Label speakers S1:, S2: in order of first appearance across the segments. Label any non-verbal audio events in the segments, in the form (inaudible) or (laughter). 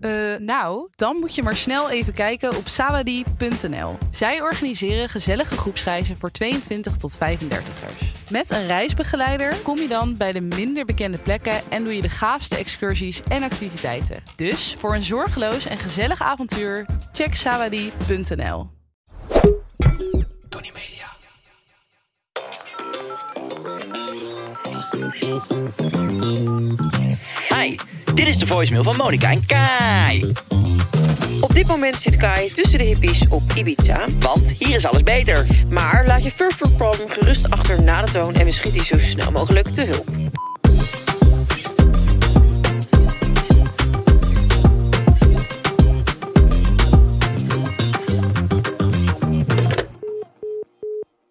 S1: eh, nou, dan moet je maar snel even kijken op sawadie.nl. Zij organiseren gezellige groepsreizen voor 22 tot 35ers. Met een reisbegeleider kom je dan bij de minder bekende plekken en doe je de gaafste excursies en activiteiten. Dus voor een zorgeloos en gezellig avontuur, check sawadie.nl.
S2: Tony Media.
S3: Hi, dit is de voicemail van Monica en Kai.
S4: Op dit moment zit Kai tussen de hippies op Ibiza.
S3: Want hier is alles beter.
S4: Maar laat je furfur problem gerust achter na de toon en we schieten je zo snel mogelijk te hulp.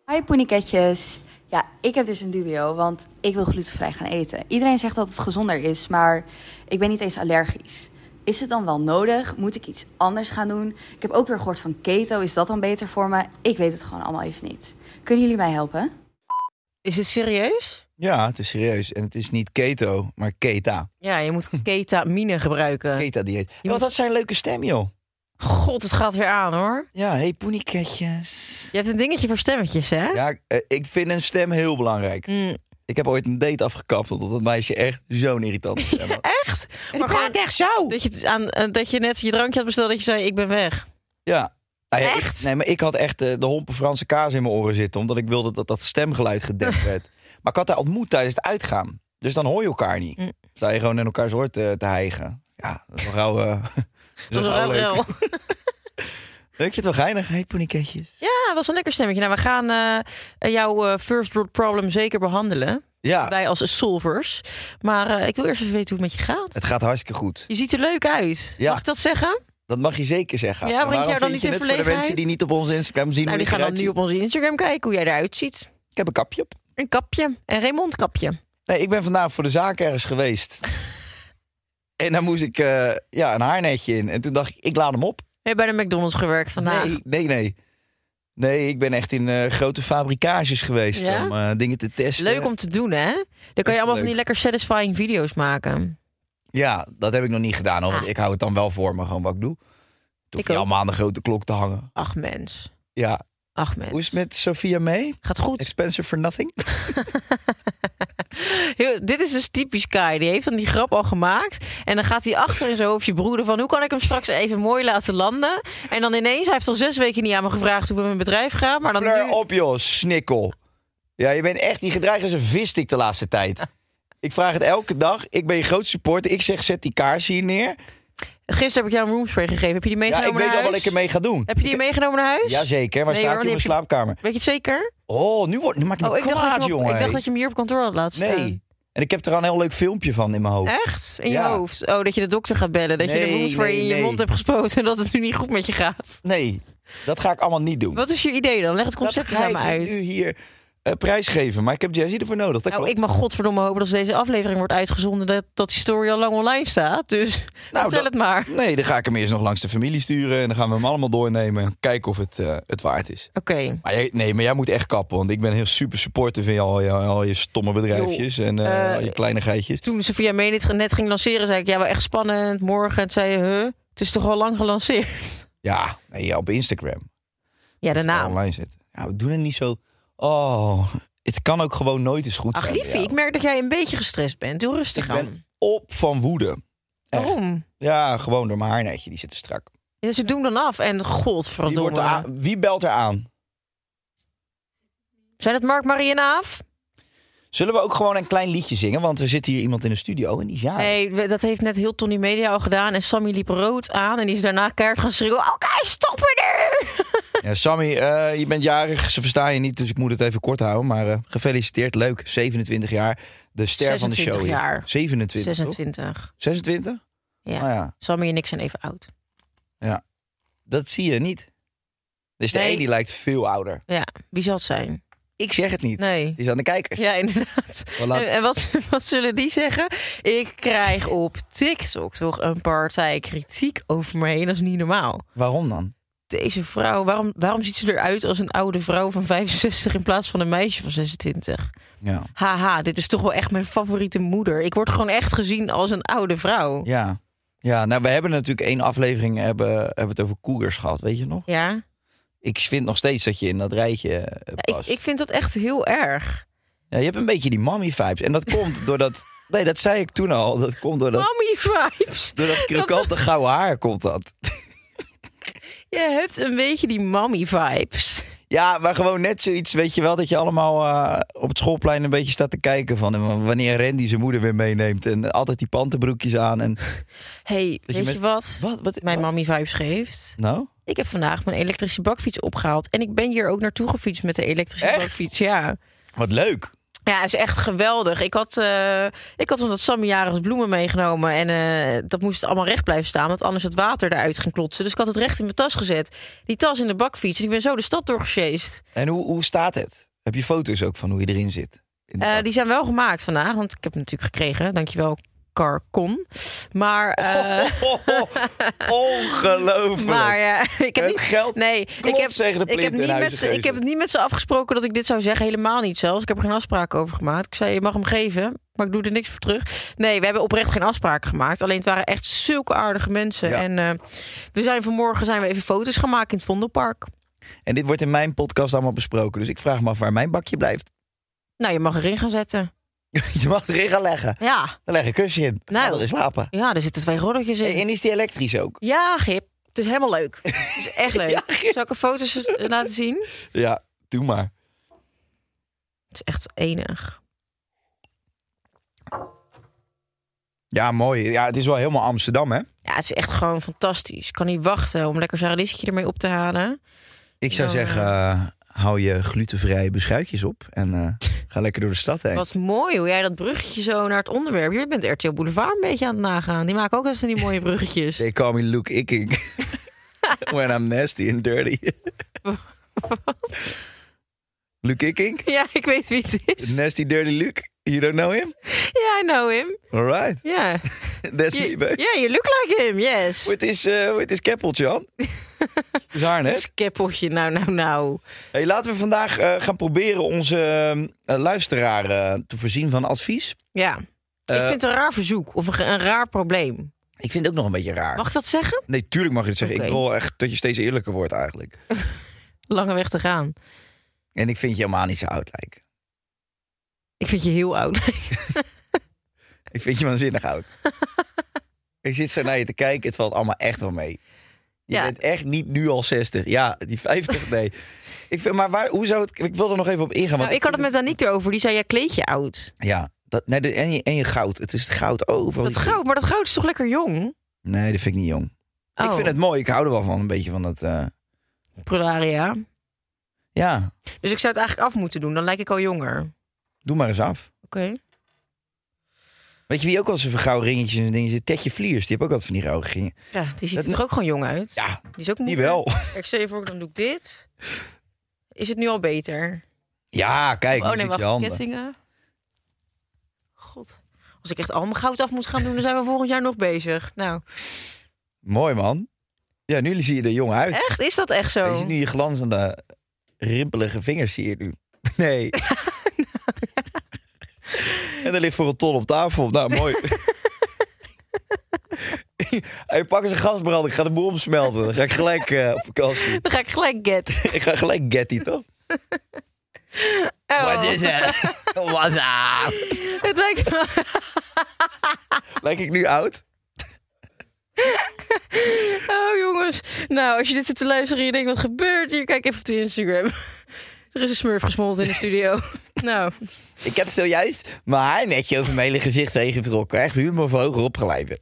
S5: Hi poeniketjes. Ja, ik heb dus een dubio, want ik wil glutenvrij gaan eten. Iedereen zegt dat het gezonder is, maar ik ben niet eens allergisch. Is het dan wel nodig? Moet ik iets anders gaan doen? Ik heb ook weer gehoord van keto. Is dat dan beter voor me? Ik weet het gewoon allemaal even niet. Kunnen jullie mij helpen?
S6: Is het serieus?
S7: Ja, het is serieus. En het is niet keto, maar keta.
S6: Ja, je moet ketamine gebruiken.
S7: Keta-dieet. En
S6: moet-
S7: Wat had zijn leuke stem, joh.
S6: God, het gaat weer aan hoor.
S7: Ja, hey poeniketjes.
S6: Je hebt een dingetje voor stemmetjes, hè?
S7: Ja, eh, ik vind een stem heel belangrijk.
S6: Mm,
S7: Ik heb ooit een date afgekapt omdat dat meisje echt zo'n irritant stem had.
S6: echt?
S7: En
S6: Maar
S7: die praat
S6: gewoon
S7: echt zo!
S6: dat, je het aan, eh, dat je net je drankje had besteld dat je zei, ik ben weg.
S7: Ja. Nou ja, ik-
S6: Echt?
S7: nee, maar ik had echt eh, de hompe Franse kaas in mijn oren zitten. Omdat ik wilde dat dat stemgeluid
S6: (laughs)
S7: gedempt werd. Maar ik had haar ontmoet tijdens het uitgaan. Dus dan hoor je elkaar niet.
S6: Mm.
S7: Sta je gewoon in elkaars oor te, te hijgen. Ja, dat is wel gauw... eh, (laughs)
S6: Dat was
S7: wel
S6: wel
S7: leuk.
S6: wel. (laughs)
S7: Leuk je het wel geinig, hey poeniketjes.
S6: Ja, was een lekker stemmetje. Nou, we gaan eh, jouw eh, first world problem zeker behandelen.
S7: Ja,
S6: Wij als solvers. Maar eh, ik wil eerst even weten hoe het met je gaat.
S7: het gaat hartstikke goed.
S6: Je ziet er leuk uit.
S7: Ja.
S6: Mag ik dat zeggen?
S7: Dat mag je zeker zeggen.
S6: Ja,
S7: Maar
S6: brengt jou
S7: waarom
S6: dan
S7: vind
S6: niet
S7: je
S6: in
S7: het Voor de mensen die
S6: verlegenheid?
S7: niet op onze Instagram zien
S6: nou,
S7: hoe
S6: die
S7: ik
S6: gaan dan
S7: eruit
S6: nu
S7: zie.
S6: op onze Instagram kijken hoe jij eruit ziet.
S7: Ik heb een kapje op.
S6: Een kapje. Een Raymond kapje.
S7: Nee, ik ben vandaag voor de zaak ergens
S6: (laughs)
S7: geweest. en dan moest ik eh, ja, een haarnetje in. En toen dacht ik, ik laat hem op.
S6: Heb je bij de McDonald's gewerkt vandaag?
S7: Nee, nee, nee. Nee, ik ben echt in eh, grote fabrikages geweest
S6: Ja?
S7: om eh, dingen te testen.
S6: Leuk om te doen, hè? Dan kan je
S7: wel
S6: allemaal van
S7: leuk.
S6: die lekker satisfying video's maken.
S7: Ja, dat heb ik nog niet gedaan. Hoor, want
S6: Ah.
S7: Ik hou het dan wel voor me, gewoon wat ik doe. Toen
S6: Ik
S7: je
S6: ook.
S7: allemaal aan de grote klok te hangen.
S6: Ach, mens.
S7: Ja,
S6: Ach, mens.
S7: hoe is het met Sophia May?
S6: Gaat goed.
S7: Expensive for nothing?
S6: Heel- dit is dus typisch Kai. Die heeft dan die grap al gemaakt. En dan gaat hij achter in zijn hoofdje broeden van... hoe kan ik hem straks even mooi laten landen? En dan ineens, hij heeft al zes weken niet aan me gevraagd... hoe het met mijn bedrijf gaat. Maar dan
S7: Pleur
S6: nu...
S7: op, joh, snikkel. Ja, je bent echt, die gedreigd als een vistik de laatste
S6: (laughs)
S7: tijd. Ik vraag het elke dag. Ik ben je groot supporter. Ik zeg, zet die kaars hier neer.
S6: Gisteren heb ik jou een roomspray gegeven. Heb je die
S7: Ja,
S6: meegenomen
S7: ik weet
S6: naar
S7: al
S6: huis?
S7: wat ik ermee ga doen.
S6: Heb je die meegenomen naar huis?
S7: Jazeker, waar
S6: Nee,
S7: staat
S6: hoor,
S7: hij
S6: die
S7: op
S6: heb
S7: mijn
S6: je-
S7: slaapkamer?
S6: Weet je het zeker?
S7: Oh, nu, wordt, nu maak je me
S6: Oh, ik dacht, dat
S7: kwaad,
S6: je hem op-
S7: jongen.
S6: ik dacht dat je hem hier op kantoor had laten staan.
S7: Nee. En ik heb er al een heel leuk filmpje van in mijn hoofd.
S6: Echt? In je
S7: Ja.
S6: hoofd? Oh, dat je de dokter gaat bellen. Dat je de
S7: Nee,
S6: roomspray
S7: nee,
S6: in je
S7: nee.
S6: mond hebt gespoten en dat het nu niet goed met je gaat.
S7: Nee, dat ga ik allemaal niet doen.
S6: Wat is je idee dan? Leg het concept
S7: dat
S6: eens
S7: ga
S6: aan
S7: ik
S6: me
S7: niet
S6: nou uit.
S7: nu hier eh, prijsgeven. Maar ik heb Jazzy ervoor nodig. Dat
S6: nou,
S7: klopt.
S6: ik mag godverdomme hopen dat als deze aflevering wordt uitgezonden... dat, dat die story al lang online staat. Dus vertel
S7: Nou, dat-
S6: het maar.
S7: Nee, dan ga ik hem eerst nog langs de familie sturen. En dan gaan we hem allemaal doornemen. en Kijken of het, eh, het waard is.
S6: Oké.
S7: Maar jij, nee, maar jij moet echt kappen. Want ik ben heel super supporter van jou, al, je, al je stomme bedrijfjes en eh,
S6: eh,
S7: al je kleinigheidjes.
S6: Toen Sofia Meen dit net ging lanceren, zei ik... ja, wel echt spannend, morgen. En toen zei je, huh? Het is toch al lang gelanceerd? (laughs)
S7: Ja, nee, ja, op Instagram.
S6: Ja, de
S7: Nou.
S6: naam.
S7: Online zitten. Ja, we doen het niet zo... Oh, het kan ook gewoon nooit eens goed
S6: Ach,
S7: zijn. bij
S6: liefie,
S7: jou.
S6: ik merk dat jij een beetje gestrest bent. Doe rustig
S7: Ik ben-
S6: aan.
S7: Op van woede. Echt.
S6: Waarom?
S7: Ja, gewoon door mijn haarnetje. Die zit te strak.
S6: Ja, ze doen dan af en
S7: Wie, wordt er
S6: godverdomme.
S7: aan- wie belt er aan?
S6: Zijn het Mark, Marie en Aaf?
S7: Zullen we ook gewoon een klein liedje zingen? Want er zit hier iemand in de studio en die is jarig.
S6: Nee, we- dat heeft net heel Tony Media al gedaan. En Sammy liep rood aan. En die is daarna keihard gaan schreeuwen. Oké, stoppen nu!
S7: Ja, Sammy, eh, je bent jarig. Ze verstaan je niet, dus ik moet het even kort houden. Maar eh, gefeliciteerd, leuk. 27 jaar. De ster van de show.
S6: 26
S7: hier.
S6: jaar.
S7: 27, 26.
S6: 26.
S7: 26?
S6: Ja.
S7: Nou ja,
S6: Sammy en ik zijn even oud.
S7: dat zie je niet. Dus de
S6: Nee.
S7: een die lijkt veel ouder.
S6: Ja, wie zal het zijn?
S7: Ik zeg het niet.
S6: Nee.
S7: Het is aan de kijkers.
S6: Ja, inderdaad.
S7: Wel laat-
S6: En, en wat, wat zullen die zeggen? Ik krijg op TikTok toch een partij kritiek over me heen. Dat is niet normaal.
S7: Waarom dan?
S6: Deze vrouw, waarom, waarom ziet ze eruit als een oude vrouw van 65 in plaats van een meisje van 26?
S7: Ja.
S6: Haha, dit is toch wel echt mijn favoriete moeder. Ik word gewoon echt gezien als een oude vrouw.
S7: Ja. Ja, nou, we hebben natuurlijk één aflevering hebben, hebben het over koegers gehad, weet je nog?
S6: Ja,
S7: Ik vind nog steeds dat je in dat rijtje eh,
S6: Ja, ik,
S7: past.
S6: ik vind dat echt heel erg.
S7: Ja, je hebt een beetje die mommy vibes. En dat
S6: (laughs)
S7: komt doordat... Nee, dat zei ik toen al. Dat komt doordat,
S6: Mommy vibes.
S7: door
S6: (laughs)
S7: dat krokante gouden haar komt dat.
S6: Je hebt een beetje die mommy vibes.
S7: Ja, maar gewoon net zoiets, weet je wel, dat je allemaal eh, op het schoolplein een beetje staat te kijken van en wanneer Randy zijn moeder weer meeneemt en altijd die pantenbroekjes aan en
S6: hey,
S7: je
S6: weet je,
S7: met-
S6: wat,
S7: wat? wat
S6: mijn
S7: wat?
S6: mommy vibes geeft?
S7: Nou,
S6: Ik heb vandaag mijn elektrische bakfiets opgehaald. En ik ben hier ook naartoe gefietst met de elektrische
S7: Echt?
S6: bakfiets. Ja.
S7: wat leuk.
S6: ja, is echt geweldig. Ik had, eh, ik had omdat Sammy jaren bloemen meegenomen. En eh, dat moest allemaal recht blijven staan. Want anders het water eruit ging klotsen. Dus ik had het recht in mijn tas gezet. Die tas in de bakfiets. En ik ben zo de stad doorgesjeest.
S7: En hoe, hoe staat het? Heb je foto's ook van hoe je erin zit? In de
S6: Eh,
S7: bak?
S6: die (laughs) zijn wel gemaakt vandaag. Want ik heb hem natuurlijk gekregen. Dankjewel, Carcon. Maar... eh,
S7: (laughs) Oh,
S6: (laughs)
S7: Ongelooflijk.
S6: Maar ja, (laughs) ik heb
S7: Het
S6: niet,
S7: geld
S6: nee, ik
S7: klots
S6: heb,
S7: tegen de
S6: ik heb,
S7: plint in
S6: niet
S7: huis
S6: met ze, ik
S7: gegeven.
S6: heb het niet met ze afgesproken dat ik dit zou zeggen. Helemaal niet zelfs. Ik heb er geen afspraken over gemaakt. Ik zei, je mag hem geven, maar ik doe er niks voor terug. Nee, we hebben oprecht geen afspraken gemaakt. Alleen het waren echt zulke aardige mensen.
S7: Ja.
S6: En eh, we zijn vanmorgen zijn we even foto's gaan maken in het Vondelpark.
S7: En dit wordt in mijn podcast allemaal besproken, dus ik vraag me af waar mijn bakje blijft.
S6: Nou, je mag erin gaan zetten.
S7: (laughs) je mag erin gaan leggen.
S6: Ja,
S7: Dan leg een kussen in. Ga
S6: Nou.
S7: erin slapen.
S6: ja er zitten twee rolletjes in.
S7: En is die elektrisch ook?
S6: Ja, Gip. Het is helemaal
S7: (laughs)
S6: leuk. Het is echt leuk.
S7: Ja, Gip.
S6: Zal ik er foto's eh, laten zien?
S7: Ja, doe maar.
S6: Het is echt enig.
S7: Ja, mooi. Ja, het is wel helemaal Amsterdam, hè?
S6: Ja, het is echt gewoon fantastisch. Ik kan niet wachten om lekker Saradischje ermee op te halen.
S7: Ik zou
S6: Dan,
S7: zeggen, eh, hou je glutenvrije beschuitjes op en (laughs) eh, ga lekker door de stad heen.
S6: Wat mooi hoe jij dat bruggetje zo naar het onderwerp. Je bent RTL Boulevard een beetje aan het nagaan. Die maken ook eens van die mooie
S7: (laughs)
S6: bruggetjes.
S7: They call me Luke Ikking. (laughs) When I'm nasty and dirty. (laughs) Luke Ikking?
S6: Ja, ik weet wie het is.
S7: Nasty Dirty Luke? You don't know (laughs) him?
S6: Ja, I know him.
S7: All right. (laughs)
S6: Ja,
S7: That's
S6: je
S7: me, babe.
S6: ja, you look like him, yes.
S7: With his, eh, with his keppeltje (laughs) aan. Is harnas.
S6: Skeppeltje, nou, nou, nou.
S7: Hey, laten we vandaag eh, gaan proberen onze eh, luisteraar eh, te voorzien van advies.
S6: Ja, ik
S7: Eh,
S6: vind het een raar verzoek of een, een raar probleem.
S7: Ik vind het ook nog een beetje raar.
S6: Mag ik dat zeggen?
S7: Nee, tuurlijk mag je het zeggen.
S6: Oké.
S7: Ik wil echt dat je steeds eerlijker wordt eigenlijk.
S6: Lange weg te gaan.
S7: En ik vind je helemaal niet zo oud lijken.
S6: Ik vind je heel oud.
S7: Ik vind je waanzinnig
S6: (laughs)
S7: oud. ik zit zo naar je te kijken. Het valt allemaal echt wel mee. Je
S6: Ja.
S7: bent echt niet nu al 60. Ja, die
S6: (laughs)
S7: 50, nee. ik vind, maar waar, hoe zou het... Ik wil er nog even op ingaan. want
S6: (laughs) nou, ik had het met
S7: vind
S6: Daniek erover. Die zei, jij kleed je oud.
S7: het- Ja, dat, nee, de- en, je, en je goud. Het is het goud Oh, overal.
S6: Dat
S7: Die-
S6: goud, maar dat goud is toch lekker jong?
S7: Nee, dat vind ik niet jong. Ik
S6: Oh,
S7: vind het mooi. Ik hou er wel van. Een beetje van dat... eh,
S6: Prularia.
S7: ja,
S6: Dus ik zou het eigenlijk af moeten doen. Dan lijk ik al jonger. Oké.
S7: doe maar eens af. Weet je wie ook wel eens een gauw ringetjes en dingen zit? Tetje Vliers. Die heeft ook altijd van die gouden gingen.
S6: Ja, die ziet
S7: Dat-
S6: er toch ook gewoon jong uit?
S7: Ja,
S6: Die is ook
S7: die
S6: moeilijk.
S7: wel.
S6: Ik stel je voor, dan doe ik dit. Is het nu al beter?
S7: Ja, kijk.
S6: oh
S7: nu
S6: nee,
S7: zit je
S6: wacht,
S7: handen.
S6: kettingen. God. Als ik echt al mijn goud af moet gaan doen, dan zijn we volgend jaar nog bezig. Nou,
S7: Mooi man. Ja, nu zie je er jong uit.
S6: echt? Is dat echt
S7: Je
S6: zo?
S7: ziet nu je glanzende, rimpelige vingers zie je nu. (laughs)
S6: (laughs)
S7: Nee. en er ligt voor een ton op tafel. Nou, mooi. (laughs) Hij pak eens een gasbrand. Ik ga de boel omsmelten. Dan ga ik gelijk eh, op vakantie.
S6: Dan ga ik gelijk
S7: (laughs)
S6: get.
S7: ik ga gelijk Getty, toch?
S6: Oh,
S7: Wat is (laughs) het? eh, Wat nou?
S6: het lijkt wel...
S7: Lijk ik nu oud?
S6: Oh jongens. Nou, als je dit zit (laughs) te luisteren en je denkt, wat gebeurt hier? Kijk even op de Instagram. Er is een smurf gesmolten in de studio. (laughs) Nou,
S7: Ik heb zojuist mijn haar netje over mijn hele gezicht heen gebroken. Echt humor voor hoger opgeleiden.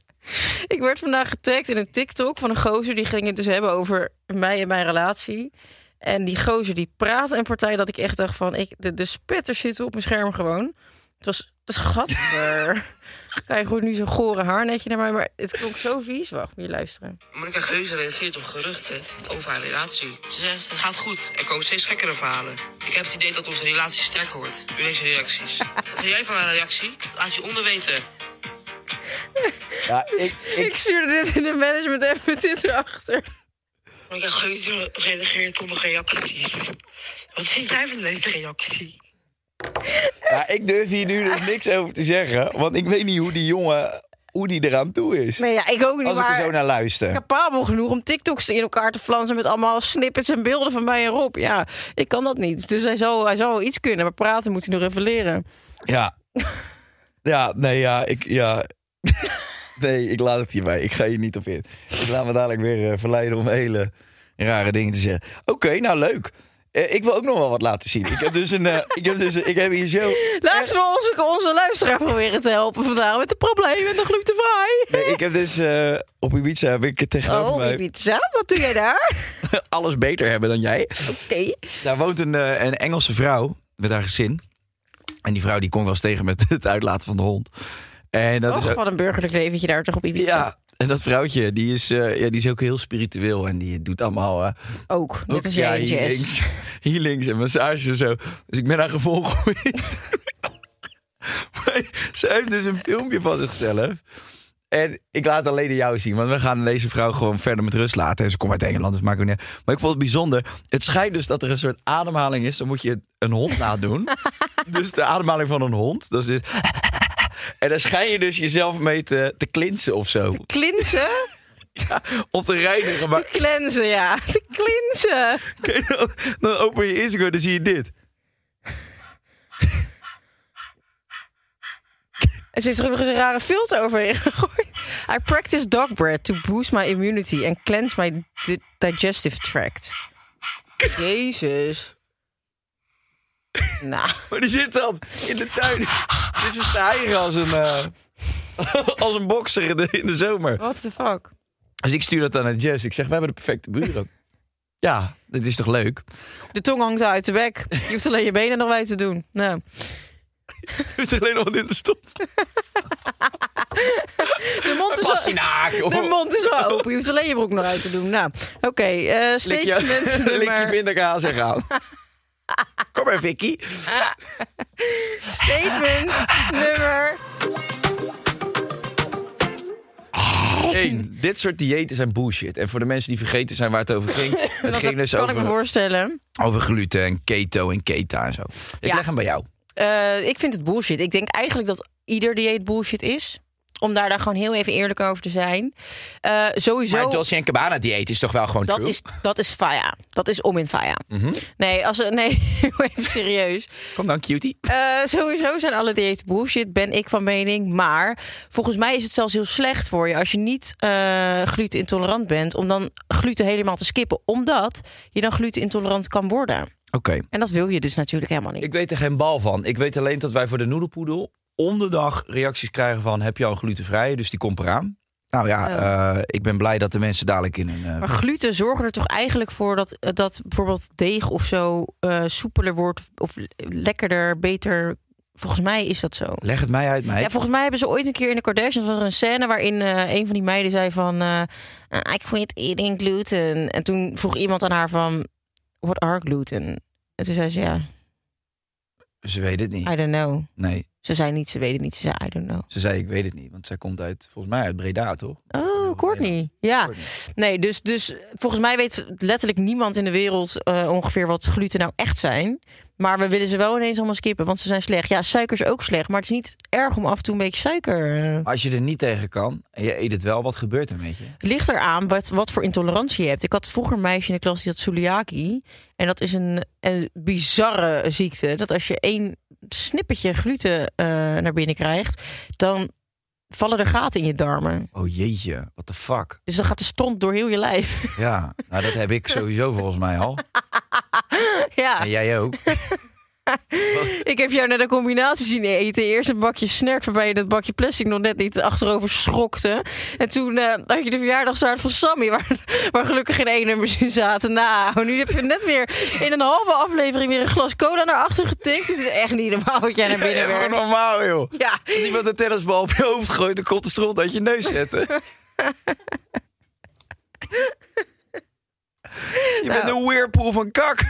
S6: ik werd vandaag getagd in een TikTok van een gozer. Die ging het dus hebben over mij en mijn relatie. En die gozer die praat en partij dat ik echt dacht van... Ik, de, de spetters zitten op mijn scherm gewoon. Het was... Het is gadver. (laughs) Krijg je gewoon nu zo'n gore haarnetje naar mij. Maar het klonk zo vies. Wacht, moet je luisteren.
S8: Maar ik Heuze reageert op geruchten over haar relatie. Ze zegt, het gaat goed. Er komen steeds gekkere verhalen. Ik heb het idee dat onze relatie sterker wordt door deze reacties. Wat vind jij van haar reactie? Laat je onder weten.
S6: (laughs)
S7: Ja, ik,
S6: Ik
S7: ik,
S6: stuurde dit in de management en met dit erachter.
S8: Monica Geuze reageert onder reacties. Wat vind jij van deze reactie?
S7: ja, ik durf hier nu dus niks over te zeggen. Want ik weet niet hoe die jongen hoe die eraan toe is.
S6: Nee, ja, ik ook niet,
S7: Als ik er
S6: maar...
S7: zo naar luister.
S6: capabel genoeg om TikToks in elkaar te flansen met allemaal snippets en beelden van mij en Rob. Ja, ik kan dat niet. Dus hij zal, hij zal wel iets kunnen, maar praten moet hij nog even leren.
S7: Ja. Ja, nee, ja, ik, ja. (laughs) Nee, ik laat het hierbij. Ik ga hier niet op in. Ik laat me dadelijk weer eh, verleiden om hele rare dingen te zeggen. Oké, nou leuk. Eh, ik wil ook nog wel wat laten zien. Ik heb dus een, eh, ik heb dus, een- ik heb hier zo.
S6: Laten we onze, onze luisteraar proberen te helpen vandaag met de problemen en de gloed te fraai.
S7: Nee, ik heb dus eh, op Ibiza heb ik tegenover
S6: Oh,
S7: mij
S6: pizza, wat doe jij daar?
S7: alles beter hebben dan jij.
S6: (laughs) Oké.
S7: Daar woont een, eh, een Engelse vrouw met haar gezin. En die vrouw die kon wel eens tegen met (laughs) het uitlaten van de hond. En dat is
S6: Och,
S7: ook-
S6: wat een burgerlijk leventje daar toch op Oh, Ibiza.
S7: Ja, en dat vrouwtje, die is, eh, ja, die is ook heel spiritueel en die doet allemaal... eh,
S6: Ook, net
S7: ook,
S6: als
S7: ja,
S6: jij, Jess.
S7: healings, (laughs) healings en massages en zo. Dus ik ben haar gevolg geweest. (laughs) Maar ze heeft dus een filmpje van zichzelf. En ik laat alleen jou zien, want we gaan deze vrouw gewoon verder met rust laten. En ze komt uit Engeland, dus maakt ook niet uit. Maar ik vond het bijzonder. Het schijnt dus dat er een soort ademhaling is. Dan moet je een hond (laughs) nadoen. dus de ademhaling van een hond. Dat is dit. En daar schijn je dus jezelf mee te, te klinsen of zo.
S6: Klinsen?
S7: Of te reinigen. Maar
S6: Te cleansen, ja. (laughs) Te cleansen.
S7: Oké, dan- dan open je Instagram, dan zie je dit.
S6: En ze heeft er overigens een rare filter overheen gegooid. I practice dog bread to boost my immunity and cleanse my di- digestive tract. (laughs) Jezus. Nou,
S7: Maar die zit dan in de tuin. Dit is te eigen als een, eh, (laughs) als een bokser in de, in de zomer.
S6: what the fuck.
S7: Dus ik stuur dat aan aan Jess. Ik zeg, we hebben de perfecte buren. Ja, dit is toch leuk? (laughs)
S6: De tong hangt al uit de bek. Je hoeft alleen je benen nog wijd te doen. Nou.
S7: Je hoeft er alleen nog wat in te stoppen.
S6: De mond is al...
S7: Pastinaak.
S6: De mond is al open. Je hoeft alleen je broek nog uit te doen. Nou, oké. eh,
S7: Lik
S6: statement
S7: je, (laughs) lik je
S6: nummer...
S7: pindakaas en gaan. Kom maar, Vicky. (laughs)
S6: Statement nummer...
S7: Eén, dit soort diëten zijn bullshit. En voor de mensen die vergeten zijn waar het over
S6: (laughs)
S7: ging... Het
S6: Dat
S7: ging dus
S6: kan ik me
S7: over,
S6: voorstellen.
S7: over gluten en keto en keta en zo. Ik
S6: Ja.
S7: leg hem bij jou.
S6: Eh, ik vind het bullshit. Ik denk eigenlijk dat ieder dieet bullshit is. Om daar dan gewoon heel even eerlijk over te zijn. Eh, sowieso.
S7: Maar het Dolce Cabana dieet is toch wel gewoon
S6: dat
S7: true? Mhm.
S6: is, dat is faya. Dat is om in faya. Nee, als, nee, (laughs) even serieus.
S7: Kom dan, cutie.
S6: Eh, sowieso zijn alle diëten bullshit, ben ik van mening. Maar volgens mij is het zelfs heel slecht voor je als je niet eh glutenintolerant bent. Om dan gluten helemaal te skippen. Omdat je dan glutenintolerant kan worden.
S7: Oké.
S6: En dat wil je dus natuurlijk helemaal niet.
S7: Ik weet er geen bal van. Ik weet alleen dat wij voor de noedelpoedel om de dag reacties krijgen van... heb je al een glutenvrije? Dus die komt eraan. Nou ja, eh, ik ben blij dat de mensen dadelijk in een... eh,
S6: Oh. Maar gluten zorgen er toch eigenlijk voor dat, eh, dat bijvoorbeeld deeg of zo eh, soepeler wordt of, of lekkerder, beter. Volgens mij is dat zo.
S7: Leg het mij uit, mij.
S6: Ja, volgens mij hebben ze ooit een keer in de Kardashians was er een scène waarin eh, een van die meiden zei van eh I quit eating gluten. En toen vroeg iemand aan haar van what are gluten? En toen zei ze ja,
S7: Ze weet het niet.
S6: I don't know.
S7: Nee,
S6: Ze zei niet, ze weet het niet. Ze zei I don't know.
S7: ze zei ik weet het niet. Want zij komt uit, volgens mij uit Breda, toch?
S6: Oh, Courtney. Ja. Nee, dus, dus volgens mij weet letterlijk niemand in de wereld eh, ongeveer wat gluten nou echt zijn. Maar we willen ze wel ineens allemaal skippen, want ze zijn slecht. Ja, suiker is ook slecht, maar het is niet erg om af en toe een beetje suiker. eh.
S7: Maar Als je er niet tegen kan en je eet het wel, wat gebeurt er met je?
S6: Het ligt eraan wat, wat voor intolerantie je hebt. Ik had vroeger een meisje in de klas die had celiakie. En dat is een, een bizarre ziekte. Dat als je één snippertje gluten eh, naar binnen krijgt, dan vallen er gaten in je darmen.
S7: Oh jeetje, what the fuck.
S6: Dus dan gaat de stront door heel je lijf. (laughs)
S7: Ja, nou dat heb ik sowieso volgens mij al.
S6: ja.
S7: En jij ook.
S6: Ik heb jou net een combinatie zien eten. Eerst een bakje snert waarbij je dat bakje plastic nog net niet achterover schrokte. En toen eh, had je de verjaardagstaart van Sammy, waar, (laughs) waar gelukkig geen E-nummers in zaten. Nou, nu heb je net weer in een halve aflevering weer een glas cola naar achter getikt. Het is echt niet normaal wat jij naar binnen
S7: Ja, maar
S6: werkt.
S7: normaal, joh.
S6: Ja,
S7: Als iemand een tennisbal op je hoofd gooit, dan komt de stront uit je neus zetten. Je bent
S6: Nou.
S7: een weerpool van
S6: (laughs)
S7: kak.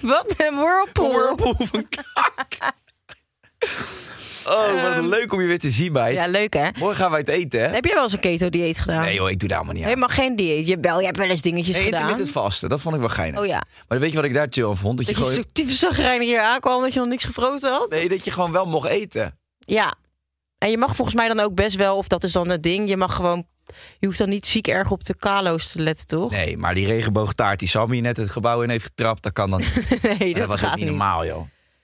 S6: wat een
S7: Een
S6: whirlpool.
S7: weerpool van kak. Oh, wat leuk om je weer te zien, bij.
S6: Ehm. Ja, leuk hè?
S7: Morgen gaan wij het eten, hè?
S6: Heb jij wel eens een keto-dieet gedaan?
S7: Nee, joh, ik doe daar allemaal niet aan.
S6: Helemaal geen dieet. Jawel, je hebt wel eens dingetjes
S7: Nee,
S6: gedaan.
S7: intermittent vasten, dat vond ik wel geinig.
S6: Oh ja.
S7: Maar weet je wat ik daar chill aan vond? Dat je,
S6: Dat je
S7: gewoon,
S6: structieve zagrijner hier aankwam, dat je nog niks gefroten had?
S7: nee, dat je gewoon wel mocht eten.
S6: Ja. En je mag volgens mij dan ook best wel, of dat is dan het ding, je mag gewoon... Je hoeft dan niet ziek erg op de kalo's te letten, toch?
S7: Nee, maar die regenboogtaart die Sammy net het gebouw in heeft getrapt, dat
S6: (laughs)
S7: kan dan niet.
S6: (laughs) Nee, dat,
S7: dat was
S6: gaat
S7: ook niet
S6: niet.
S7: normaal, joh.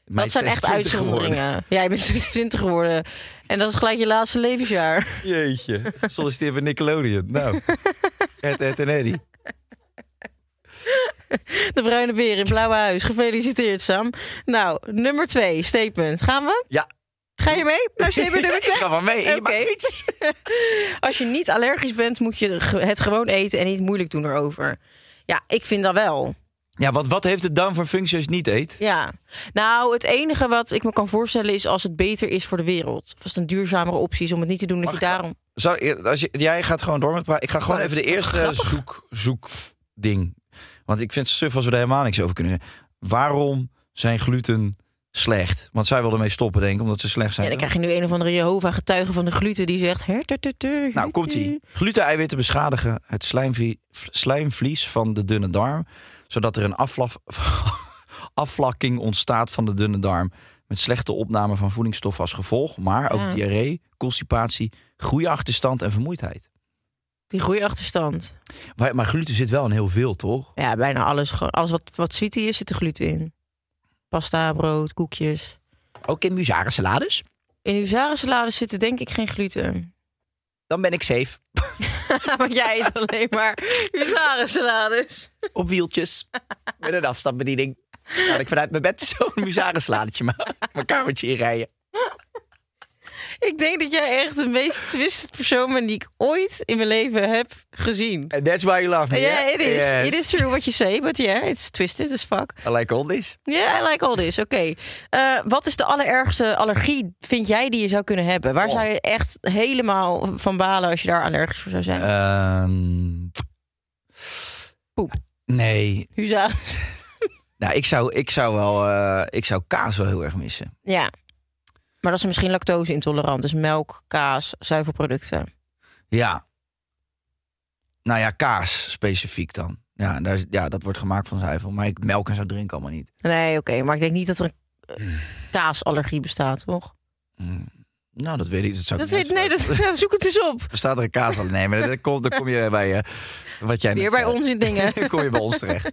S6: Dat
S7: Meid
S6: zijn echt
S7: 26 geworden.
S6: uitzonderingen. Ja, je bent (laughs) 26 geworden. En dat is gelijk je laatste levensjaar. (laughs)
S7: (laughs) Jeetje, solliciteer bij Nickelodeon. Nou, Ed, Ed en Eddie.
S6: De bruine beer in blauwe huis. Gefeliciteerd, Sam. Nou, nummer twee, statement. Gaan we?
S7: Ja.
S6: Ga je mee naar statement
S7: (laughs)
S6: nummer
S7: Ik
S6: twee?
S7: ga wel mee. En je
S6: Oké.
S7: maakt fiets.
S6: (laughs) Als je niet allergisch bent, moet je het gewoon eten en niet moeilijk doen erover. Ja, ik vind dat wel.
S7: Ja, want wat heeft het dan voor functie als je het niet eet?
S6: Ja. Nou, het enige wat ik me kan voorstellen is als het beter is voor de wereld. Of als het een duurzamere optie is om het niet te doen, dat
S7: Mag
S6: je
S7: ik-
S6: daarom...
S7: Zou, eh, als je, jij gaat gewoon door met praten. Ik ga gewoon
S6: Oh,
S7: even
S6: dat
S7: de
S6: is wat
S7: eerste
S6: grappig.
S7: zoek, zoek ding. Want ik vind het suf als we daar helemaal niks over kunnen zeggen. Waarom zijn gluten slecht? Want zij wilden mee stoppen, denk ik, omdat ze slecht
S6: Ja,
S7: zijn.
S6: dan krijg je nu een of andere Jehovah-getuige van de gluten die zegt... "Her, ter, ter, ter,
S7: Nou,
S6: gluten."
S7: komt ie. Gluten-eiwitten beschadigen het slijmvlie- v- slijmvlies van de dunne darm, zodat er een aflaf, (laughs) afvlakking ontstaat van de dunne darm. Met slechte opname van voedingsstoffen als gevolg, maar ook
S6: Ja.
S7: diarree, constipatie, groeiachterstand en vermoeidheid.
S6: Die groeiachterstand.
S7: Maar, maar gluten zit wel in heel veel, toch?
S6: Ja, bijna alles. gewoon- Alles wat, wat sweetie is, zit er gluten in. Pasta, brood, koekjes.
S7: Ook in muzarensalades?
S6: In uw zarensalade zitten denk ik geen gluten. (laughs)
S7: Dan ben ik safe.
S6: Want jij eet alleen maar uw zarensalades.
S7: Op wieltjes. Met een afstandsbediening. Kan ik vanuit mijn bed zo'n muzarensaladetje maken. Mijn kamertje inrijden.
S6: Ik denk dat jij echt de meest twisted persoon bent die ik ooit in mijn leven heb gezien.
S7: And Eh, that's why you love me,
S6: Ja,
S7: hè?
S6: it is.
S7: Yes.
S6: It is true what you say, but yeah, it's twisted as fuck.
S7: I like all this.
S6: Ja, I like all this. Oké. Eh, wat is de allerergste allergie, vind jij, die je zou kunnen hebben?
S7: Oh.
S6: Waar zou je echt helemaal van balen als je daar allergisch voor zou zijn?
S7: Eh. Ehm,
S6: Poep.
S7: Nee.
S6: Huza.
S7: Nou, ik zou, ik zou wel... eh, ik zou kaas wel heel erg missen.
S6: (laughs) Ja. Maar dat is misschien lactose-intolerant. Dus melk, kaas, zuivelproducten.
S7: Ja. Nou ja, kaas specifiek dan. Ja, daar, is- ja dat wordt gemaakt van zuivel. Maar ik melk en zo drink allemaal niet.
S6: Nee, oké. maar ik denk niet dat er een eh, kaasallergie bestaat, toch?
S7: Mm. Nou, dat weet ik. Dat zou ik
S6: Dat
S7: niet
S6: weet, nee,
S7: weten.
S6: dat, (laughs) nou, zoek het eens
S7: (laughs)
S6: op.
S7: Bestaat er een kaas al? Nee, maar dan kom, dan kom je bij eh, wat jij
S6: Weer
S7: net
S6: bij
S7: zei.
S6: ons in dingen.
S7: (laughs) Dan kom je bij ons terecht.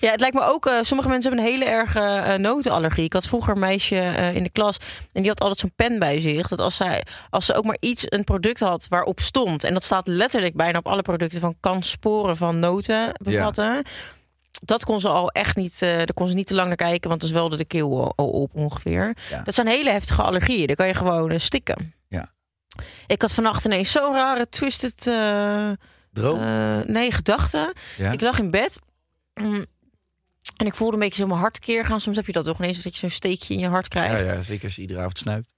S6: Ja, het lijkt me ook. eh, sommige mensen hebben een hele erge eh, notenallergie. Ik had vroeger een meisje eh, in de klas. En die had altijd zo'n pen bij zich. Dat als, zij, als ze ook maar iets, een product had waarop stond. En dat staat letterlijk bijna op alle producten. Van kan sporen van noten bevatten. Dat kon ze al echt niet. eh daar kon ze niet te lang naar kijken. Want dan zwelde de keel al, al op ongeveer.
S7: Ja.
S6: Dat zijn hele heftige allergieën. Daar kan je gewoon eh, stikken.
S7: Ja.
S6: Ik had vannacht ineens zo'n rare twisted. eh,
S7: Droom.
S6: eh, nee, gedachten.
S7: Oh. Ja.
S6: Ik lag in bed. mm, En ik voelde een beetje zo mijn hart keer gaan. Soms heb je dat toch ineens dat je zo'n steekje in je hart krijgt.
S7: ja, ja, zeker als je iedere avond snuift.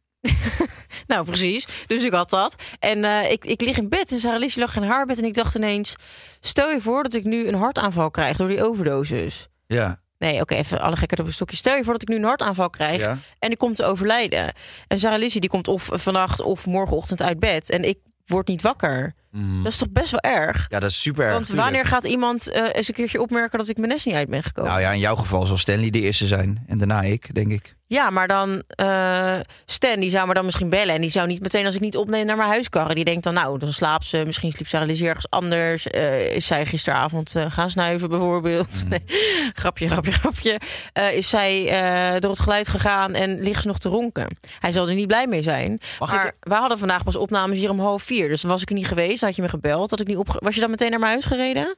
S6: Nou, precies. Dus ik had dat. En eh, ik, ik lig in bed en Sarah Lies lag in haar bed. En ik dacht ineens, stel je voor dat ik nu een hartaanval krijg door die overdosis.
S7: Ja.
S6: Nee, oké, even alle gekken op een stokje. Stel je voor dat ik nu een hartaanval krijg
S7: Ja.
S6: en ik kom te overlijden. En Sarah Lizzie die komt of vannacht of morgenochtend uit bed. En ik word niet wakker.
S7: Mm.
S6: Dat is toch best wel erg?
S7: ja, dat is super erg.
S6: Want
S7: tuurlijk.
S6: wanneer gaat iemand eh, eens een keertje opmerken dat ik mijn nest niet uit ben gekomen?
S7: Nou ja, in jouw geval zal Stanley de eerste zijn. En daarna ik, denk ik.
S6: Ja, maar dan eh, Stan die zou me dan misschien bellen. En die zou niet meteen als ik niet opneem naar mijn huis karren. Die denkt dan, nou, dan slaapt ze. Misschien sliep ze realiseer ergens anders. Eh, is zij gisteravond eh, gaan snuiven bijvoorbeeld?
S7: Mm.
S6: Nee. (laughs) grapje, grapje, grapje. Eh, is zij eh, door het geluid gegaan en ligt ze nog te ronken? Hij zal er niet blij mee zijn.
S7: Mag ik-
S6: maar wij hadden vandaag pas opnames hier om half vier. Dus was ik er niet geweest, had je me gebeld. Had ik niet opge- Was je dan meteen naar mijn huis gereden?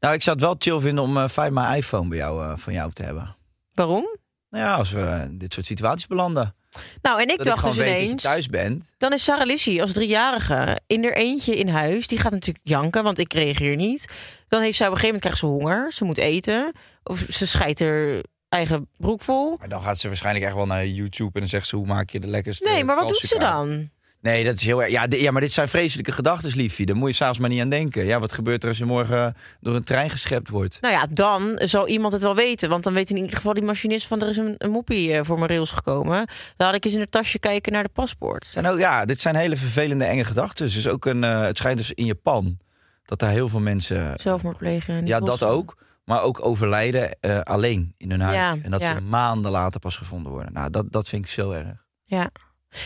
S7: Nou, ik zou het wel chill vinden om eh fijn mijn iPhone bij jou, eh, van jou te hebben.
S6: Waarom?
S7: Nou ja, als we in dit soort situaties belanden.
S6: Nou, en ik
S7: dat ik
S6: dacht
S7: gewoon
S6: dus
S7: weet dat
S6: ineens...
S7: je thuis bent.
S6: Dan is Sarah Lissy als driejarige in haar eentje in huis. Die gaat natuurlijk janken, want ik reageer niet. Dan heeft zij op een gegeven moment krijgt ze honger. Ze moet eten. Of ze scheidt haar eigen broek vol.
S7: Maar dan gaat ze waarschijnlijk echt wel naar YouTube en dan zegt ze hoe maak je de lekkerste
S6: Nee, maar wat doet ze
S7: kalfsjekaart?
S6: dan?
S7: Nee, dat is heel erg. Ja, di- ja, maar dit zijn vreselijke gedachten, liefie. Daar moet je s'avonds maar niet aan denken. Ja, wat gebeurt er als je morgen door een trein geschept wordt?
S6: Nou ja, dan zal iemand het wel weten. Want dan weet in ieder geval die machinist van... er is een, een moppie eh, voor mijn rails gekomen. Laat ik eens in het tasje kijken naar de paspoort.
S7: Zijn ook, ja, dit zijn hele vervelende, enge gedachten. Dus ook een, eh, het schijnt dus in Japan dat daar heel veel mensen.
S6: Zelfmoord plegen. niet
S7: ja, dat
S6: lossen.
S7: ook. Maar ook overlijden eh, alleen in hun huis.
S6: Ja,
S7: en dat
S6: ja.
S7: ze maanden later pas gevonden worden. Nou, dat, dat vind ik zo erg.
S6: Ja.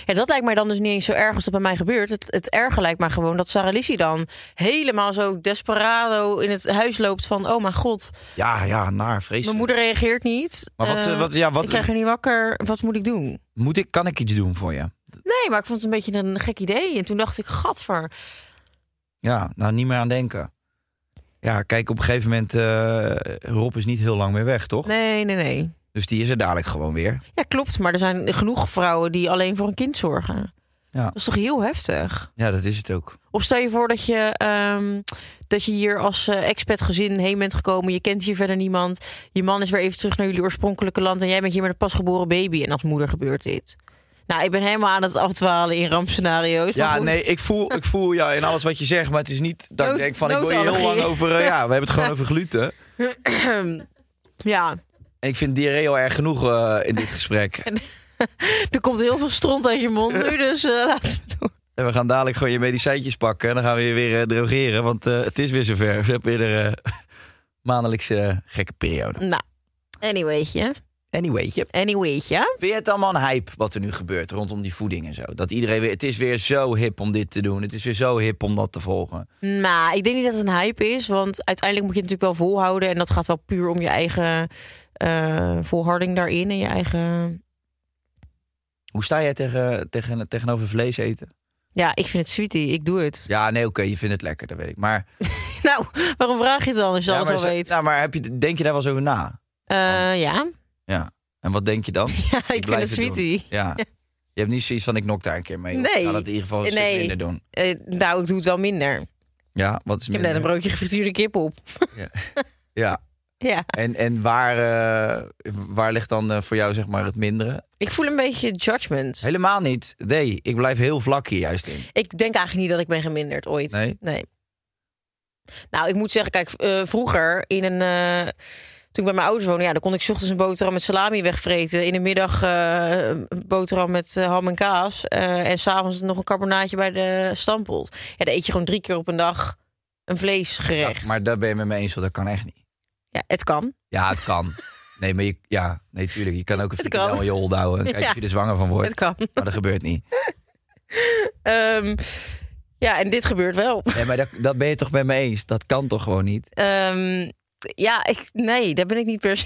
S6: ja, dat lijkt mij dan dus niet eens zo erg als dat bij mij gebeurt. Het, het erge lijkt mij gewoon dat Sarah Lissy dan helemaal zo desperado in het huis loopt van... oh mijn god,
S7: Ja, ja, naar vreselijk.
S6: mijn moeder reageert niet.
S7: Maar wat,
S6: Eh,
S7: eh, wat, ja,
S6: Ik
S7: wat
S6: krijg er niet wakker, wat moet ik doen?
S7: moet ik, kan ik iets doen voor je?
S6: Nee, maar ik vond het een beetje een gek idee. En toen dacht ik, gadver.
S7: Ja, nou niet meer aan denken. Ja, kijk, op een gegeven moment, eh, Rob is niet heel lang meer weg, toch?
S6: Nee, nee, nee.
S7: Dus die is er dadelijk gewoon weer.
S6: Ja, klopt, maar er zijn genoeg vrouwen die alleen voor een kind zorgen.
S7: Ja.
S6: Dat is toch heel heftig?
S7: Ja, dat is het ook.
S6: Of stel je voor dat je, ehm, dat je hier als eh, expat gezin heen bent gekomen. Je kent hier verder niemand. Je man is weer even terug naar jullie oorspronkelijke land. En jij bent hier met een pasgeboren baby. En als moeder gebeurt dit. Nou, ik ben helemaal aan het afdwalen in rampscenario's. Maar
S7: Ja,
S6: goed,
S7: nee, ik voel, ik voel ja, in alles wat je zegt, maar het is niet dat
S6: Nood-
S7: ik denk van ik wil je heel lang
S6: noodallergie.
S7: over. eh, ja,
S6: (laughs)
S7: we hebben het gewoon over gluten.
S6: Ehm, Ja,
S7: En ik vind diarree al erg genoeg eh, in dit gesprek.
S6: er komt heel veel stront uit je mond
S7: (laughs)
S6: nu. Dus eh, laten we doen.
S7: En we gaan dadelijk gewoon je medicijntjes pakken en dan gaan we je weer eh, drogeren, want eh, het is weer zover. (laughs) We hebben weer de eh, maandelijkse eh, gekke periode.
S6: Nou, anywaytje.
S7: Anyway,
S6: Anywaytje.
S7: Vind je het allemaal een hype wat er nu gebeurt rondom die voeding en zo? Dat iedereen weer, het is weer zo hip om dit te doen. Het is weer zo hip om dat te volgen.
S6: Nou, ik denk niet dat het een hype is. Want uiteindelijk moet je het natuurlijk wel volhouden. En dat gaat wel puur om je eigen eh, volharding daarin. En je eigen
S7: Hoe sta jij tegen, tegen, tegenover vlees eten?
S6: Ja, ik vind het sweetie. Ik doe het. (laughs)
S7: Ja, nee, oké, je vindt het lekker, dat weet ik. Maar,
S6: Nou, waarom vraag je het dan als je
S7: ja,
S6: alles
S7: maar,
S6: al
S7: zo-
S6: weet?
S7: Nou, maar heb je, denk je daar wel eens over na?
S6: Eh, ja. (laughs)
S7: Ja. En wat denk je dan?
S6: ja, ik vind
S7: blijf
S6: het
S7: het doen.
S6: sweetie.
S7: Ja. Je hebt niet zoiets van, ik nok daar een keer mee. of
S6: Nee.
S7: Ik ga dat in ieder geval een
S6: Nee.
S7: stuk minder doen.
S6: Eh, nou, ik doe het wel minder.
S7: Ja, wat is
S6: Ik heb net een
S7: minder?
S6: broodje gefrituurde kip op.
S7: Ja.
S6: Ja,
S7: En, en waar, eh, waar ligt dan eh, voor jou zeg maar het mindere?
S6: ik voel een beetje judgment.
S7: Helemaal niet. Nee, ik blijf heel vlak hier juist in.
S6: Ik denk eigenlijk niet dat ik ben geminderd ooit.
S7: Nee?
S6: Nou, ik moet zeggen, kijk, eh, vroeger in een... eh, toen ik bij mijn ouders woonde, ja, dan kon ik 's ochtends een boterham met salami wegvreten. In de middag eh, een boterham met eh, ham en kaas. eh, en s'avonds nog een carbonaatje bij de stampot. Ja, dan eet je gewoon drie keer op een dag een vleesgerecht.
S7: Ja, maar daar ben je met me eens, want dat kan echt niet.
S6: Ja, het kan.
S7: Ja, het
S6: (laughs)
S7: kan. Nee, maar je, ja, nee, tuurlijk. Je kan ook een
S6: Het
S7: frikandel
S6: kan.
S7: in je hol houden. Kijk
S6: Ja.
S7: of je er zwanger van wordt.
S6: Het kan.
S7: Maar dat gebeurt niet.
S6: Ehm, ja, en dit gebeurt wel.
S7: Nee, maar dat, dat ben je toch met me eens? Dat kan toch gewoon niet?
S6: Ehm, ja, ik, nee, daar ben ik niet per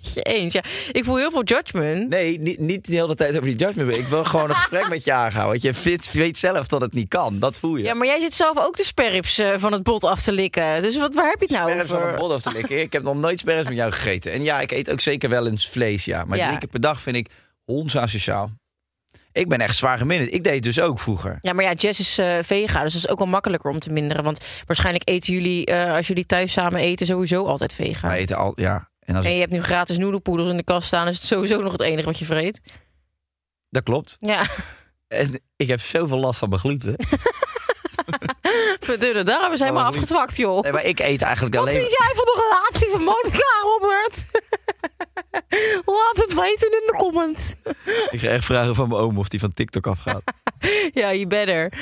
S6: se (laughs) eens. Ja, ik voel heel veel judgment.
S7: Nee, niet, niet de hele tijd over die judgment. Ik wil
S6: (laughs)
S7: gewoon een gesprek met je aangaan. Want je vindt- weet zelf dat het niet kan. Dat voel je.
S6: Ja, maar jij zit zelf ook de sperrips eh, van het bot af te likken. Dus wat, waar heb je het nou
S7: Sperms van
S6: over?
S7: een bol af te likken. Ik heb nog nooit sperms met jou gegeten. En ja, ik eet ook zeker wel eens vlees, ja. Maar
S6: Ja.
S7: drie keer per dag vind ik honsasociaal. Ik ben echt zwaar geminderd. Ik deed het dus ook vroeger.
S6: Ja, maar ja, Jess is eh, vega, dus dat is ook wel makkelijker om te minderen. Want waarschijnlijk eten jullie, eh, als jullie thuis samen eten, sowieso altijd vega.
S7: Maar eten al, ja. En als
S6: En je hebt nu gratis noedelpoedels in de kast staan, dus het is sowieso nog het enige wat je vreet.
S7: Dat klopt.
S6: Ja, (laughs)
S7: En ik heb zoveel last van mijn gluten.
S6: verdomme, daar hebben we helemaal
S7: Waarom niet?
S6: afgetwakt, joh.
S7: Nee, maar ik eet eigenlijk
S6: Wat
S7: alleen...
S6: vind jij van de relatie van Monica, (laughs) Robert? Laat het weten in de comments. (laughs)
S7: Ik ga echt vragen van mijn oom of die van TikTok afgaat.
S6: Ja, je better.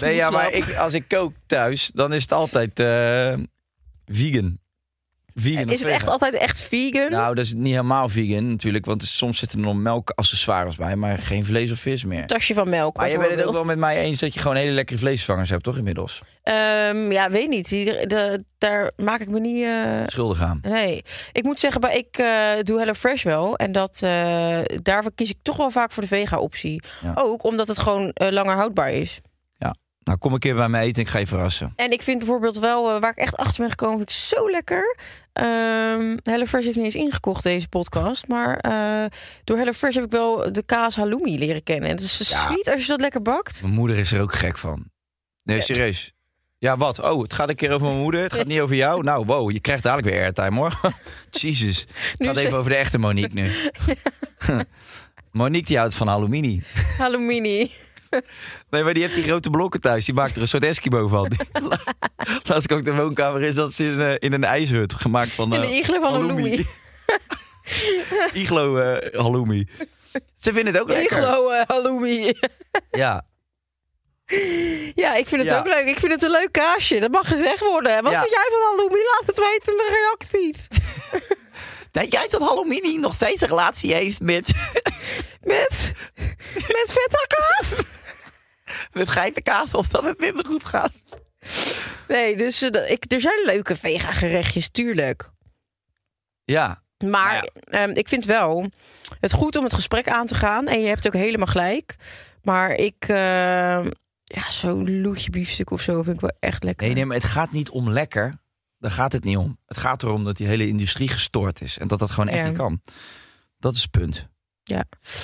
S7: Nee, ja, maar
S6: Smoeslap.
S7: ik, als ik kook thuis, dan is het altijd eh, vegan. Vegan of
S6: Is het echt
S7: vegan.
S6: altijd echt vegan?
S7: Nou, dat is niet helemaal vegan natuurlijk, want soms zitten er nog melkaccessoires bij, maar geen vlees of vis meer.
S6: tasje van melk.
S7: Maar je bent het ook
S6: bijvoorbeeld.
S7: wel met mij eens dat je gewoon hele lekkere vleesvervangers hebt, toch inmiddels?
S6: Ehm, ja, weet niet. Die- de- daar maak ik me niet. eh,
S7: Schuldig aan.
S6: Nee, ik moet zeggen, bij ik eh doe HelloFresh wel. En dat, eh, daarvoor kies ik toch wel vaak voor de vega-optie.
S7: Ja.
S6: Ook omdat het gewoon eh, langer houdbaar is.
S7: Nou, kom een keer bij mij eten, ik ga je verrassen.
S6: En ik vind bijvoorbeeld wel, eh, waar ik echt achter ben gekomen, vind ik zo lekker. Ehm HelloFresh heeft niet eens ingekocht deze podcast. Maar eh, door HelloFresh heb ik wel de kaas halloumi leren kennen. En het is zo
S7: Ja.
S6: sweet als je dat lekker bakt.
S7: Mijn moeder is er ook gek van. Nee, serieus. Ja, wat? Oh, het gaat een keer over mijn moeder. Het gaat niet over jou. Nou, wow, je krijgt dadelijk weer airtime hoor. (laughs) Jezus. Het
S6: Nu
S7: gaat
S6: ze-
S7: even over de echte Monique nu.
S6: (laughs)
S7: (laughs) Monique die houdt van aluminium.
S6: Halloumi.
S7: Nee, maar die heeft die grote blokken thuis. Die maakt er een soort Eskimo
S6: (laughs)
S7: van. Laatst ik ook de woonkamer is, dat ze in, eh, in een ijshut gemaakt van...
S6: In
S7: eh,
S6: een iglo van halloumi.
S7: (laughs) iglo eh halloumi. Ze vinden het ook lekker.
S6: Iglo eh, halloumi. (laughs)
S7: Ja.
S6: Ja, ik vind het
S7: Ja.
S6: ook leuk. Ik vind het een leuk kaasje. Dat mag gezegd worden. Wat
S7: Ja.
S6: vind jij van halloumi? Laat het weten in de
S7: (laughs)
S6: reacties.
S7: Denk jij dat halloumi nog steeds een relatie heeft met...
S6: Met, met vette kaas.
S7: met geiten kaas of dat het minder goed gaat?
S6: Nee, dus eh, dat- ik, er zijn leuke vega gerechtjes, tuurlijk.
S7: Ja.
S6: Maar ehm, ik vind wel het goed om het gesprek aan te gaan. En je hebt ook helemaal gelijk. Maar ik, ehm, ja, zo'n loetje biefstuk of zo vind ik wel echt lekker.
S7: Nee, nee, maar het gaat niet om lekker. Daar gaat het niet om. Het gaat erom dat die hele industrie gestoord is. En dat dat gewoon echt
S6: Ja.
S7: niet kan. Dat is het punt.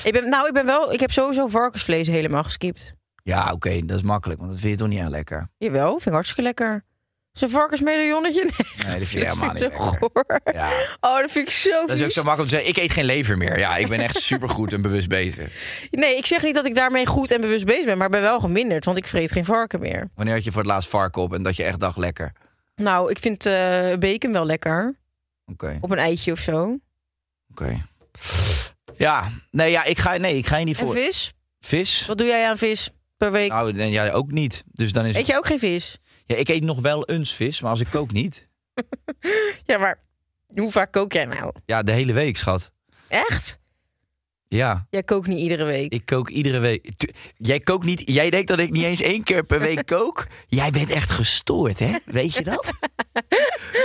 S6: ik ben, nou, ik ben wel, ik heb sowieso varkensvlees helemaal geskipt.
S7: Ja, oké, dat is makkelijk. Want dat vind je toch niet aan lekker?
S6: Jawel, vind ik hartstikke lekker. Zo'n varkensmedaillonnetje? Nee,
S7: Nee, dat vind je
S6: (laughs) dat
S7: helemaal niet
S6: vind ik zo
S7: lekker.
S6: goor.
S7: Ja.
S6: Oh, dat vind ik zo
S7: Dat is
S6: vies.
S7: ook zo makkelijk om te zeggen, ik eet geen lever meer. Ja, ik ben
S6: (laughs)
S7: echt supergoed en bewust bezig.
S6: Nee, ik zeg niet dat ik daarmee goed en bewust bezig ben, maar ik ben wel geminderd, want ik vreet geen varken meer.
S7: Wanneer had je voor het laatst varken op en dat je echt dacht lekker?
S6: Nou, ik vind eh, bacon wel lekker.
S7: Oké,
S6: Op een eitje of zo.
S7: oké. Ja, nee, ja, ik ga, nee, ik ga je niet
S6: En
S7: voor.
S6: vis?
S7: Vis?
S6: Wat doe jij aan vis per week?
S7: Nou, nee, ja, ook niet. Dus dan is
S6: Eet
S7: het...
S6: je ook geen vis?
S7: ja, ik eet nog wel eens vis, maar als ik kook niet.
S6: Ja, maar hoe vaak kook jij nou?
S7: Ja, de hele week, schat.
S6: Echt?
S7: Ja,
S6: Jij kookt niet iedere week.
S7: ik kook iedere week. Tu- Jij kookt niet. Jij denkt dat ik niet eens één keer per week kook. Jij bent echt gestoord, hè? Weet je dat?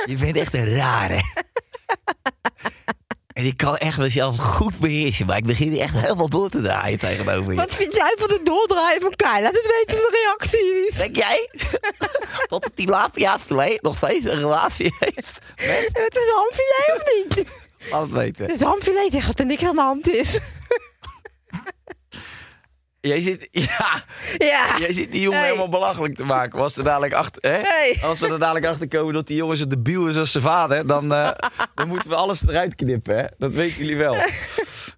S7: Je bent echt een rare. En ik kan echt mezelf goed beheersen, maar ik begin hier echt helemaal door te draaien tegenover je.
S6: Wat vind jij van de doordraaien van Kai? Laat het weten in de reacties.
S7: Denk jij (laughs) dat het tilapia filet nog steeds een relatie heeft?
S6: Het is hamfilet of niet?
S7: Laat het weten.
S6: Het hamfilet zegt dat er niks aan de hand is.
S7: Jij zit, ja,
S6: Ja.
S7: jij zit die jongen
S6: Hey.
S7: helemaal belachelijk te maken. Was er dadelijk achter, hè?
S6: Hey.
S7: Als ze er dadelijk achter komen dat die jongen zo debiel is als zijn vader, dan, eh, dan moeten we alles eruit knippen. Hè? Dat weten jullie
S6: (laughs)
S7: wel.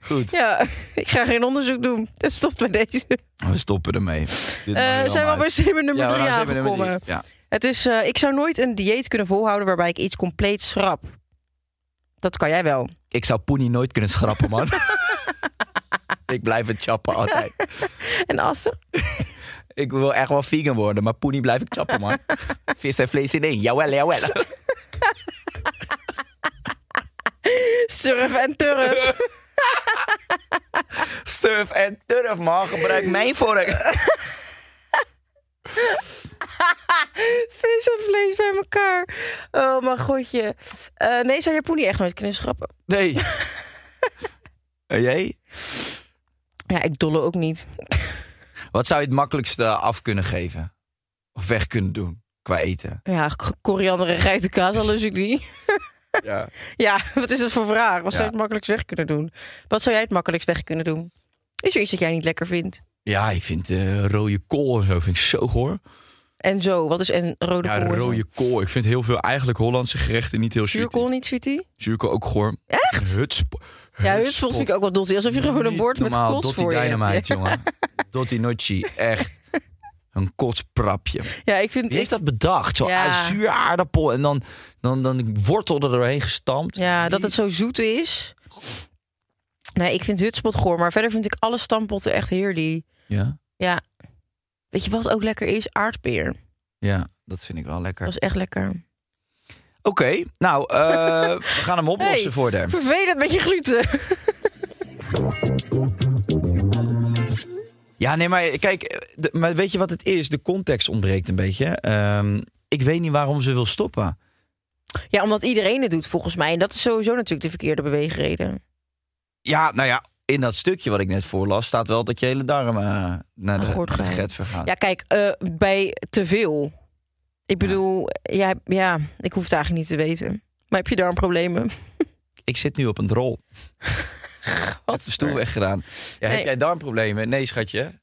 S7: Goed,
S6: Ja, ik ga geen onderzoek doen. Dat stopt bij deze.
S7: we stoppen ermee. Dit mag
S6: Eh,
S7: er allemaal
S6: zijn we al bij
S7: uit.
S6: zeven nummer
S7: Ja, we
S6: 3
S7: gaan zeven nummer
S6: aangekomen?
S7: drie. Ja.
S6: Het is, eh, ik zou nooit een dieet kunnen volhouden waarbij ik iets compleet schrap. Dat kan jij wel.
S7: Ik zou Poenie nooit kunnen schrappen, man. ik blijf het chappen altijd.
S6: En Aster?
S7: Ik wil echt wel vegan worden, maar Poenie blijf ik chappen, man. Vis en vlees in één. Jawel, jawel.
S6: Surf en turf.
S7: (laughs) Surf en turf, man. Gebruik mijn vork.
S6: Vis en vlees bij elkaar. Oh mijn godje. Eh, nee, zou je poenie echt nooit kunnen schrappen?
S7: Nee. En jij?
S6: Ja, ik dolle ook niet.
S7: Wat zou je het makkelijkste af kunnen geven? Of weg kunnen doen? Qua eten.
S6: Ja, k- koriander en geitenkaas, al lus ik die.
S7: Ja.
S6: Ja, (laughs) wat is dat voor vraag? Wat zou
S7: Ja.
S6: je het makkelijkst weg kunnen doen? Wat zou jij het makkelijkst weg kunnen doen? Is er iets dat jij niet lekker vindt?
S7: Ja, ik vind eh, rode kool en zo vind ik zo goor.
S6: En zo, wat is en rode
S7: Ja,
S6: kool? en zo?
S7: rode kool. Ik vind heel veel eigenlijk Hollandse gerechten niet heel
S6: Zuurkool
S7: zuur.
S6: niet, sweetie?
S7: Zuurkool ook goor. Echt? Hutspo.
S6: Ja, hutspot vind ik ook wel dotty. Alsof je gewoon een bord met kots voor je hebt.
S7: Dynamite,
S6: (laughs)
S7: jongen. Dotti Nocci, echt. Een kotsprapje.
S6: Ja, ik vind...
S7: Wie heeft
S6: Ik,
S7: dat bedacht? Zo'n
S6: Ja.
S7: azuur aardappel en dan, dan, dan wortel er doorheen gestampt.
S6: ja, dat het zo zoet is. Nee, ik vind hutspot goor. Maar verder vind ik alle stampotten echt heerlijk.
S7: Ja,
S6: Ja. Weet je wat ook lekker is? Aardpeer.
S7: ja, dat vind ik wel lekker.
S6: Dat is echt lekker.
S7: Oké, nou, eh,
S6: (laughs)
S7: we gaan hem oplossen
S6: Hey.
S7: voor de...
S6: Vervelend met je gluten. (laughs)
S7: Ja, nee, maar kijk, de- maar weet je wat het is? De context ontbreekt een beetje. Ehm, ik weet niet waarom ze wil stoppen.
S6: Ja, omdat iedereen het doet volgens mij. En dat is sowieso natuurlijk de verkeerde beweegreden.
S7: Ja, nou ja, in dat stukje wat ik net voorlas staat wel dat je hele darm eh, naar de
S6: Aan gort gaan.
S7: getver gaat.
S6: Ja, kijk, eh, bij te veel. Ik bedoel, ja, ja, ik hoef het eigenlijk niet te weten. Maar heb je darmproblemen?
S7: Ik zit nu op een rol. Had de stoel weggedaan. Ja,
S6: Nee.
S7: Heb jij darmproblemen? Nee, schatje.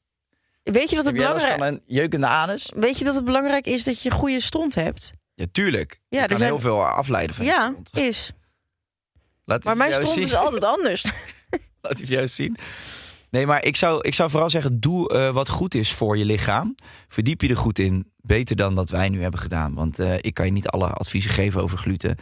S6: Weet je dat het
S7: Heb jij last
S6: belangrijk
S7: van een jeukende anus?
S6: Weet je dat het belangrijk is dat je goede stront hebt?
S7: Ja, tuurlijk.
S6: Ja,
S7: Ja,
S6: er
S7: kan
S6: zijn-
S7: heel veel afleiden van je
S6: ja,
S7: stront.
S6: is.
S7: Laat
S6: Maar
S7: het
S6: mijn
S7: jou
S6: stront
S7: zien.
S6: is altijd
S7: (laughs)
S6: anders.
S7: Laat het jou zien. Nee, maar ik zou, ik zou vooral zeggen, doe eh, wat goed is voor je lichaam. Verdiep je er goed in. Beter dan dat wij nu hebben gedaan. Want eh, ik kan je niet alle adviezen geven over gluten.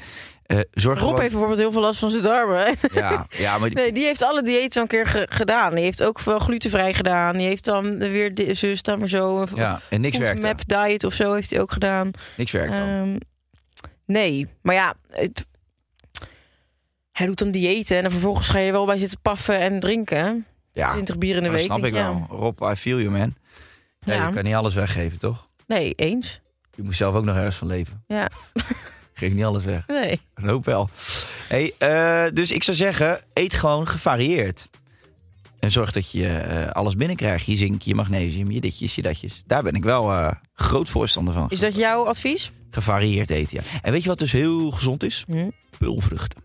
S7: Eh, zorg
S6: Rob heeft
S7: gewoon...
S6: bijvoorbeeld heel veel last van zijn darmen. (laughs)
S7: Ja, ja, maar die-
S6: Nee, die heeft alle diëten al een keer ge- gedaan. Die heeft ook wel glutenvrij gedaan. Die heeft dan weer di- zus, dan maar zo. Een
S7: ja, en niks
S6: food
S7: werkt. dan.
S6: map diet of zo heeft hij ook gedaan.
S7: Niks werkt dan.
S6: Ehm, nee, maar ja... het- hij doet dan diëten en dan vervolgens ga je wel bij zitten paffen en drinken.
S7: ja,
S6: 20 bier in de
S7: Ah, maar dat
S6: week.
S7: snap ik
S6: denk je,
S7: wel. Rob, I feel you, man.
S6: Ja,
S7: Nee, Je kan niet alles weggeven, toch?
S6: Nee, eens.
S7: Je moet zelf ook nog ergens van leven.
S6: Ja.
S7: (laughs) Geef niet alles weg.
S6: Nee.
S7: Een hoop wel. Hey, eh, dus ik zou zeggen, eet gewoon gevarieerd. En zorg dat je eh, alles binnenkrijgt. Je zink, je magnesium, je ditjes, je datjes. Daar ben ik wel eh, groot voorstander van.
S6: Is dat jouw advies?
S7: Gevarieerd eten, ja. En weet je wat dus heel gezond is?
S6: Hm.
S7: Pulvruchten.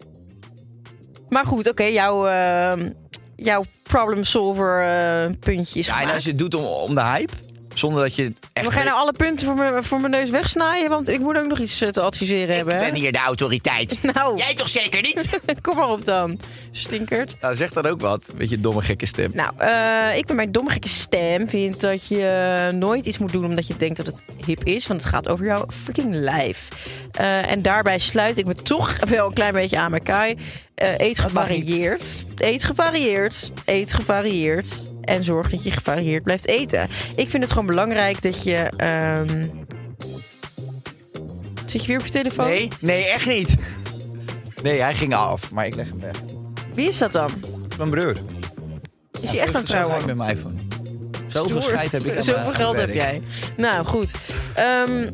S6: Maar goed, oké, jouw, ehm, jouw problem solver eh, puntje is
S7: Ja, en
S6: gemaakt.
S7: als je het doet om, om de hype, zonder dat je het echt...
S6: We gaan nou alle punten voor mijn, voor mijn neus wegsnijden, want ik moet ook nog iets eh, te adviseren hebben. hè?
S7: Ik ben hier de
S6: (laughs)
S7: autoriteit.
S6: Nou.
S7: Jij toch zeker niet?
S6: (laughs) Kom maar op dan, stinkert.
S7: nou, zeg dan ook wat. Beetje domme gekke stem.
S6: Nou, eh, ik met mijn domme gekke stem vind dat je nooit iets moet doen omdat je denkt dat het hip is, want het gaat over jouw freaking lijf. Eh, en daarbij sluit ik me toch wel een klein beetje aan mijn kaai. Eh, eet gevarieerd, eet gevarieerd, eet gevarieerd en zorg dat je gevarieerd blijft eten. Ik vind het gewoon belangrijk dat je... ehm, Zit je weer op je telefoon?
S7: Nee, nee, echt niet. Nee, hij ging af, maar ik leg hem weg.
S6: Wie is dat dan?
S7: Mijn broer.
S6: Is hij echt aan het trouwen?
S7: Ik met mijn iPhone. Zoveel
S6: Stoer.
S7: scheid heb ik. aan
S6: Zoveel
S7: mijn
S6: geld heb
S7: werk.
S6: jij. Nou, goed. Ehm,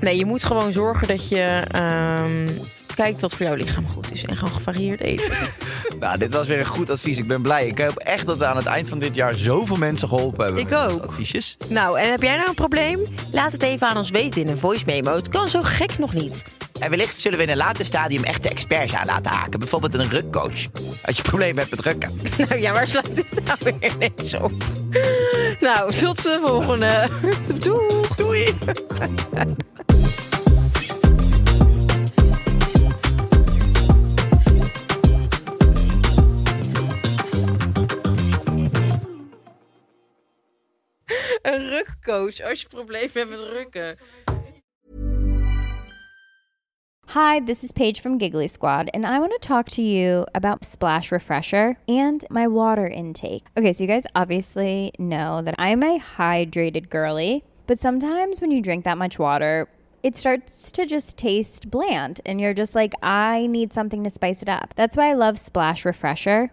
S6: nee, je moet gewoon zorgen dat je ehm, kijkt wat voor jouw lichaam goed is. En gewoon gevarieerd eten.
S7: (laughs) Nou, dit was weer een goed advies. Ik ben blij. Ik hoop echt dat we aan het eind van dit jaar zoveel mensen geholpen hebben.
S6: Ik
S7: met onze
S6: ook.
S7: Adviesjes.
S6: nou, en heb jij nou een probleem? Laat het even aan ons weten in een voice memo. Het kan zo gek nog niet.
S7: En wellicht zullen we in een later stadium echte experts aan laten haken. Bijvoorbeeld een rukcoach. Als je problemen hebt met rukken.
S6: (laughs) Nou ja, waar sluit dit nou weer ineens op? Nou, tot de volgende. (laughs) Doeg! Doei! Een rukcoach als je problemen hebt met rukken.
S9: Hi, this is Paige from Giggly Squad, and I want to talk to you about Splash Refresher and my water intake. Okay, so you guys obviously know that I'm a hydrated girly, but sometimes when you drink that much water, it starts to just taste bland, and you're just like, I need something to spice it up. That's why I love Splash Refresher.